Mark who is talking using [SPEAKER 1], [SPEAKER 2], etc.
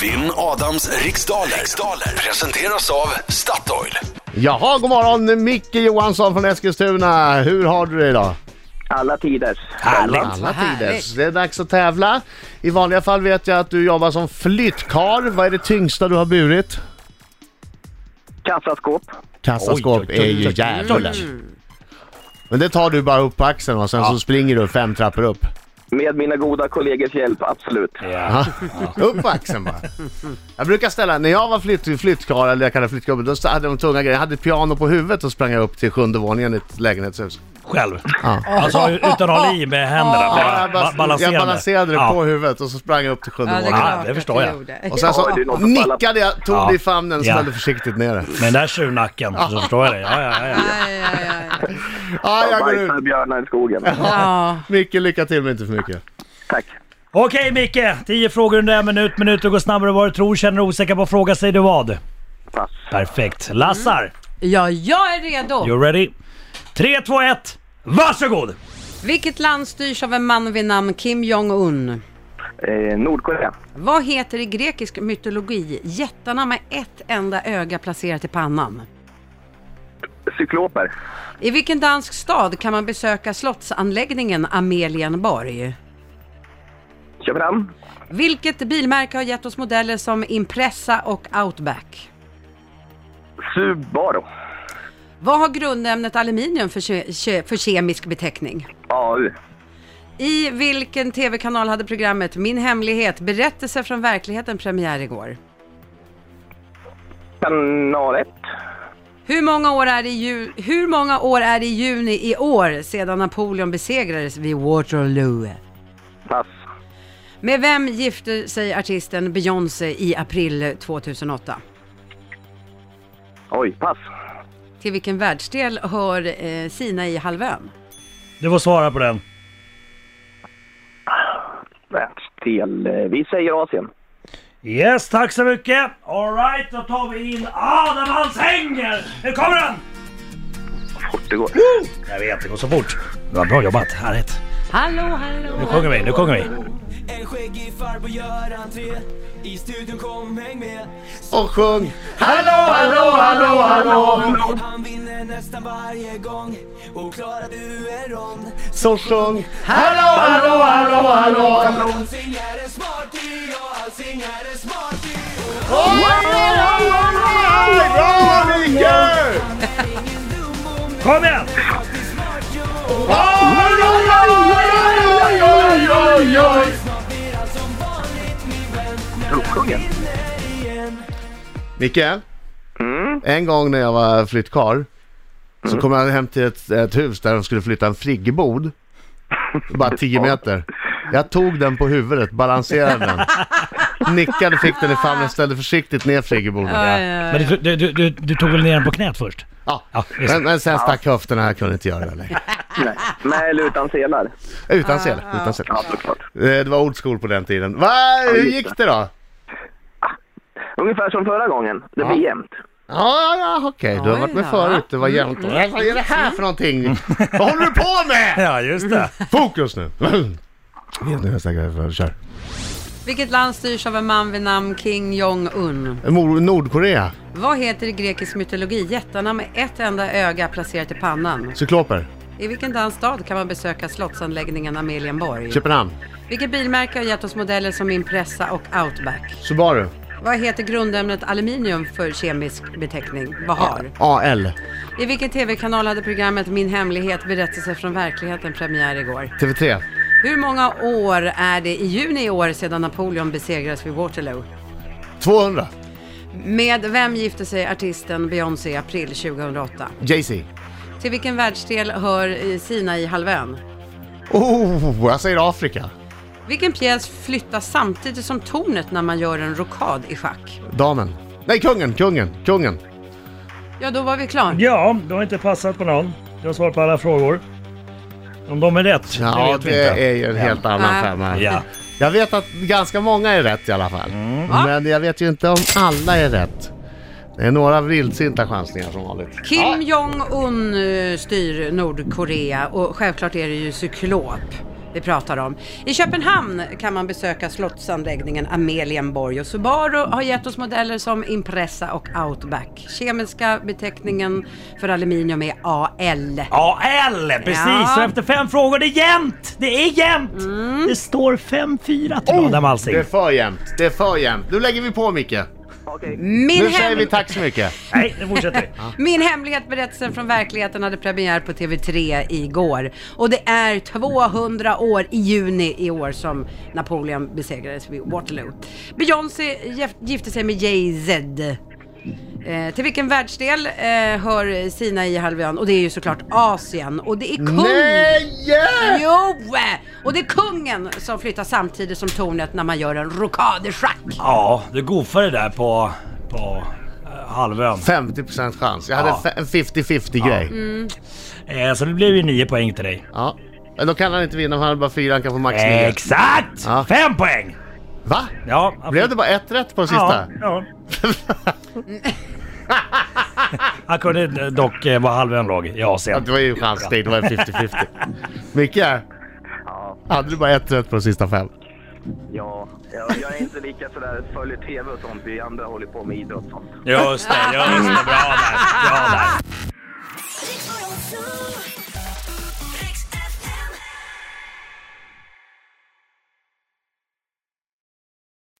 [SPEAKER 1] Vinn Adams riksdaler. riksdaler presenteras av Statoil.
[SPEAKER 2] Jaha, god morgon Micke Johansson från Eskilstuna. Hur har du det idag?
[SPEAKER 3] Alla tiders.
[SPEAKER 2] Härligt! Alla tiders.
[SPEAKER 4] Härligt.
[SPEAKER 2] Det är dags att tävla. I vanliga fall vet jag att du jobbar som flyttkarl. Vad är det tyngsta du har burit?
[SPEAKER 3] Kassaskåp.
[SPEAKER 2] Kassaskåp är ju djävulen. Men det tar du bara upp på axeln och sen så springer du fem trappor upp.
[SPEAKER 3] Med mina goda kollegors hjälp, absolut.
[SPEAKER 2] Upp på axeln bara. Jag brukar ställa, när jag var flytt, flyttkarl, eller jag kallade flyttgubbe, då hade de tunga grejer. Jag hade ett piano på huvudet och sprang jag upp till sjunde våningen i ett lägenhetshus.
[SPEAKER 5] Själv. Alltså utan att hålla i med händerna.
[SPEAKER 2] Ja,
[SPEAKER 5] Bara,
[SPEAKER 2] jag,
[SPEAKER 5] ba-
[SPEAKER 2] bas- jag balanserade det
[SPEAKER 5] Ja.
[SPEAKER 2] på huvudet och så sprang jag upp till sjunde
[SPEAKER 4] Ja, det, är
[SPEAKER 2] våningen.
[SPEAKER 4] klart
[SPEAKER 5] det
[SPEAKER 4] att
[SPEAKER 5] förstår
[SPEAKER 4] du
[SPEAKER 5] jag.
[SPEAKER 4] gjorde.
[SPEAKER 2] Och sen
[SPEAKER 3] Ja,
[SPEAKER 2] så
[SPEAKER 3] det är något att falla-
[SPEAKER 2] nickade jag, tog det i famnen och
[SPEAKER 5] Ja.
[SPEAKER 2] ställde försiktigt ner det.
[SPEAKER 5] Med den där tjurnacken så förstår jag det. Ja, ja, ja.
[SPEAKER 4] Ja, ja, ja, ja.
[SPEAKER 2] Ja, jag går
[SPEAKER 3] Bajsar
[SPEAKER 2] ut.
[SPEAKER 3] björnar i skogen.
[SPEAKER 4] Ja.
[SPEAKER 2] Micke, lycka till men inte för mycket.
[SPEAKER 3] Tack.
[SPEAKER 5] Okej Micke, 10 frågor under en minut. Minuter går snabbare än vad du tror. Känner du osäker på fråga säger du vad.
[SPEAKER 3] Pass.
[SPEAKER 5] Perfekt. Lassar,
[SPEAKER 4] ja, jag är redo.
[SPEAKER 5] you ready? 3, 2, 1. Varsågod!
[SPEAKER 4] Vilket land styrs av en man vid namn Kim Jong-Un?
[SPEAKER 3] Eh, Nordkorea.
[SPEAKER 4] Vad heter i grekisk mytologi jättarna med ett enda öga placerat i pannan?
[SPEAKER 3] Cykloper.
[SPEAKER 4] I vilken dansk stad kan man besöka slottsanläggningen Amelienborg?
[SPEAKER 3] Köpenhamn.
[SPEAKER 4] Vilket bilmärke har gett oss modeller som Impressa och Outback?
[SPEAKER 3] Subaru.
[SPEAKER 4] Vad har grundämnet aluminium för, ke- ke- för kemisk beteckning?
[SPEAKER 3] AU.
[SPEAKER 4] I vilken tv-kanal hade programmet Min hemlighet berättelser från verkligheten premiär igår?
[SPEAKER 3] Kanal 1.
[SPEAKER 4] Hur många år är det i, ju- hur många år är det i juni i år sedan Napoleon besegrades vid Waterloo?
[SPEAKER 3] Pass.
[SPEAKER 4] Med vem gifte sig artisten Beyoncé i april 2008?
[SPEAKER 3] Oj, pass.
[SPEAKER 4] Till vilken världsdel hör eh, Sinai i halvön?
[SPEAKER 5] Du får svara på den.
[SPEAKER 3] Världsdel. Eh, Vi säger Asien.
[SPEAKER 5] Yes, tack så mycket! Alright, då tar vi in Adam Hans Hänger! Nu kommer han!
[SPEAKER 3] Fort det går.
[SPEAKER 5] Jag vet, det går så fort. Bra, bra jobbat, härligt.
[SPEAKER 4] Hallå, hallå!
[SPEAKER 5] Nu sjunger vi, nu sjunger vi.
[SPEAKER 6] En skäggig farbror gör entré I studion kom häng med
[SPEAKER 2] Och sjung Hallå, hallå, hallå, hallå!
[SPEAKER 6] Han vinner nästan varje gång Och klarar du en rond
[SPEAKER 2] Så sjung Hallå, hallå, hallå, hallå!
[SPEAKER 6] Allsing är en smarty Ja, allsing är en smarty
[SPEAKER 2] Bra Micke!
[SPEAKER 5] Kom igen!
[SPEAKER 3] Uppsjungen.
[SPEAKER 2] Micke, en gång när jag var flyttkarl så kom jag hem till ett, ett hus där de skulle flytta en friggebod. Bara 10 meter. Jag tog den på huvudet, balanserade den. Nickade, fick den i famnen, ställde försiktigt ner friggeboden.
[SPEAKER 4] Eh,
[SPEAKER 5] Men du, du, du, du, du tog väl ner den på knät först?
[SPEAKER 2] Ja.
[SPEAKER 5] Ja, just
[SPEAKER 2] Men,
[SPEAKER 5] det.
[SPEAKER 2] men sen stack höfterna, jag kunde inte göra det längre.
[SPEAKER 3] Nej. Med eller utan selar?
[SPEAKER 2] Utan sele, utan sele.
[SPEAKER 3] Ja, såklart.
[SPEAKER 2] Eh, Det var old school på den tiden. Va? Hur gick det då?
[SPEAKER 3] Ungefär som förra gången. Det blir jämnt.
[SPEAKER 2] Ja, ja, ja, okej. Du har
[SPEAKER 4] Oj
[SPEAKER 2] varit med
[SPEAKER 4] då. Mm.
[SPEAKER 2] förut. Det var jämnt. Vad är det här för någonting? Vad håller du på med?
[SPEAKER 5] Ja, just det.
[SPEAKER 2] Fokus nu! Nu är jag säker för att kör.
[SPEAKER 4] Vilket land styrs av en man vid namn Kim Jong-Un?
[SPEAKER 2] Mor- Nordkorea.
[SPEAKER 4] Vad heter i grekisk mytologi jättarna med ett enda öga placerat i pannan?
[SPEAKER 2] Cykloper.
[SPEAKER 4] I vilken dansk stad kan man besöka slottsanläggningen Amelienborg?
[SPEAKER 2] Köpenhamn.
[SPEAKER 4] Vilket bilmärke har gett oss modeller som Impressa och Outback?
[SPEAKER 2] Subaru.
[SPEAKER 4] Vad heter grundämnet aluminium för kemisk beteckning? Vad har?
[SPEAKER 2] AL.
[SPEAKER 4] I vilken tv-kanal hade programmet Min hemlighet berättelser från verkligheten premiär igår?
[SPEAKER 2] TV3.
[SPEAKER 4] Hur många år är det i juni i år sedan Napoleon besegrades vid Waterloo?
[SPEAKER 2] 200.
[SPEAKER 4] Med vem gifte sig artisten Beyoncé i april 2008?
[SPEAKER 2] Jay-Z.
[SPEAKER 4] Till vilken världsdel hör Sina i halvön?
[SPEAKER 2] Oh, jag säger Afrika.
[SPEAKER 4] Vilken pjäs flyttas samtidigt som tornet när man gör en rokad i schack?
[SPEAKER 2] Damen. Nej, kungen, kungen, kungen.
[SPEAKER 4] Ja, då var vi klar.
[SPEAKER 5] Ja, du har inte passat på någon. Du har svarat på alla frågor. Om de är rätt,
[SPEAKER 2] Ja,
[SPEAKER 5] det vet vi
[SPEAKER 2] det
[SPEAKER 5] inte.
[SPEAKER 2] är ju en helt annan
[SPEAKER 4] Nej.
[SPEAKER 2] femma.
[SPEAKER 5] Ja. Mm.
[SPEAKER 2] Jag vet att ganska många är rätt i alla fall. Men jag vet ju inte om alla är rätt. Det är några vildsinta chansningar som vanligt.
[SPEAKER 4] Kim Jong-Un eh, styr Nordkorea och självklart är det ju cyklop. vi pratar om. I Köpenhamn kan man besöka slottsanläggningen Amelienborg och Subaru har gett oss modeller som Impressa och Outback. Kemiska beteckningen för aluminium är AL.
[SPEAKER 5] Ja, L! Precis!
[SPEAKER 4] Ja.
[SPEAKER 5] Och efter fem frågor, det är jämnt! Det är jämnt! Det står 5-4 till Adam Alsing.
[SPEAKER 2] Det är för jämnt. Det är för jämnt. Nu lägger vi på Micke.
[SPEAKER 3] Okej.
[SPEAKER 4] Min,
[SPEAKER 2] Nu säger
[SPEAKER 4] hem-
[SPEAKER 2] vi tack så mycket.
[SPEAKER 5] Nej, nu fortsätter vi.
[SPEAKER 4] Min hemlighet berättelsen från verkligheten hade premiär på TV3 igår. Och det är 200 år i juni i år som Napoleon besegrades vid Waterloo. Beyoncé gif- gifte sig med Jay-Z. Eh, till vilken världsdel eh, hör Sinaihalvön? Och det är ju såklart Asien. Och det är kung...
[SPEAKER 2] Nej!
[SPEAKER 4] Jo! Och det är kungen som flyttar samtidigt som tornet när man gör en rokaderschack.
[SPEAKER 5] Ja, du goofade där på, på eh, halvön.
[SPEAKER 2] 50% chans. Jag hade
[SPEAKER 5] Ja. Mm.
[SPEAKER 2] fe- en 50-50 grej.
[SPEAKER 5] Eh, så det blev ju 9 poäng till dig.
[SPEAKER 2] Ja. Men då kan han inte vinna för han har bara fyra, han kan få max nio.
[SPEAKER 5] Exakt!
[SPEAKER 2] Ja.
[SPEAKER 5] 5 poäng!
[SPEAKER 2] Va?
[SPEAKER 5] Ja, han
[SPEAKER 2] Blev
[SPEAKER 5] fick-
[SPEAKER 2] det bara ett rätt på sista?
[SPEAKER 5] Ja, ja. Han kunde eh, dock eh, vara halvön låg i
[SPEAKER 2] Ja,
[SPEAKER 5] Asien.
[SPEAKER 2] det var ju chansning, det var ju 50-50. Micke,
[SPEAKER 3] Ja,
[SPEAKER 2] hade du bara ett rätt på de sista fem?
[SPEAKER 3] ja. Jag, jag är inte lika sådär, följer TV och sånt. Vi andra håller på med idrott och sånt.
[SPEAKER 5] Just det, just det. Bra där. Bra där.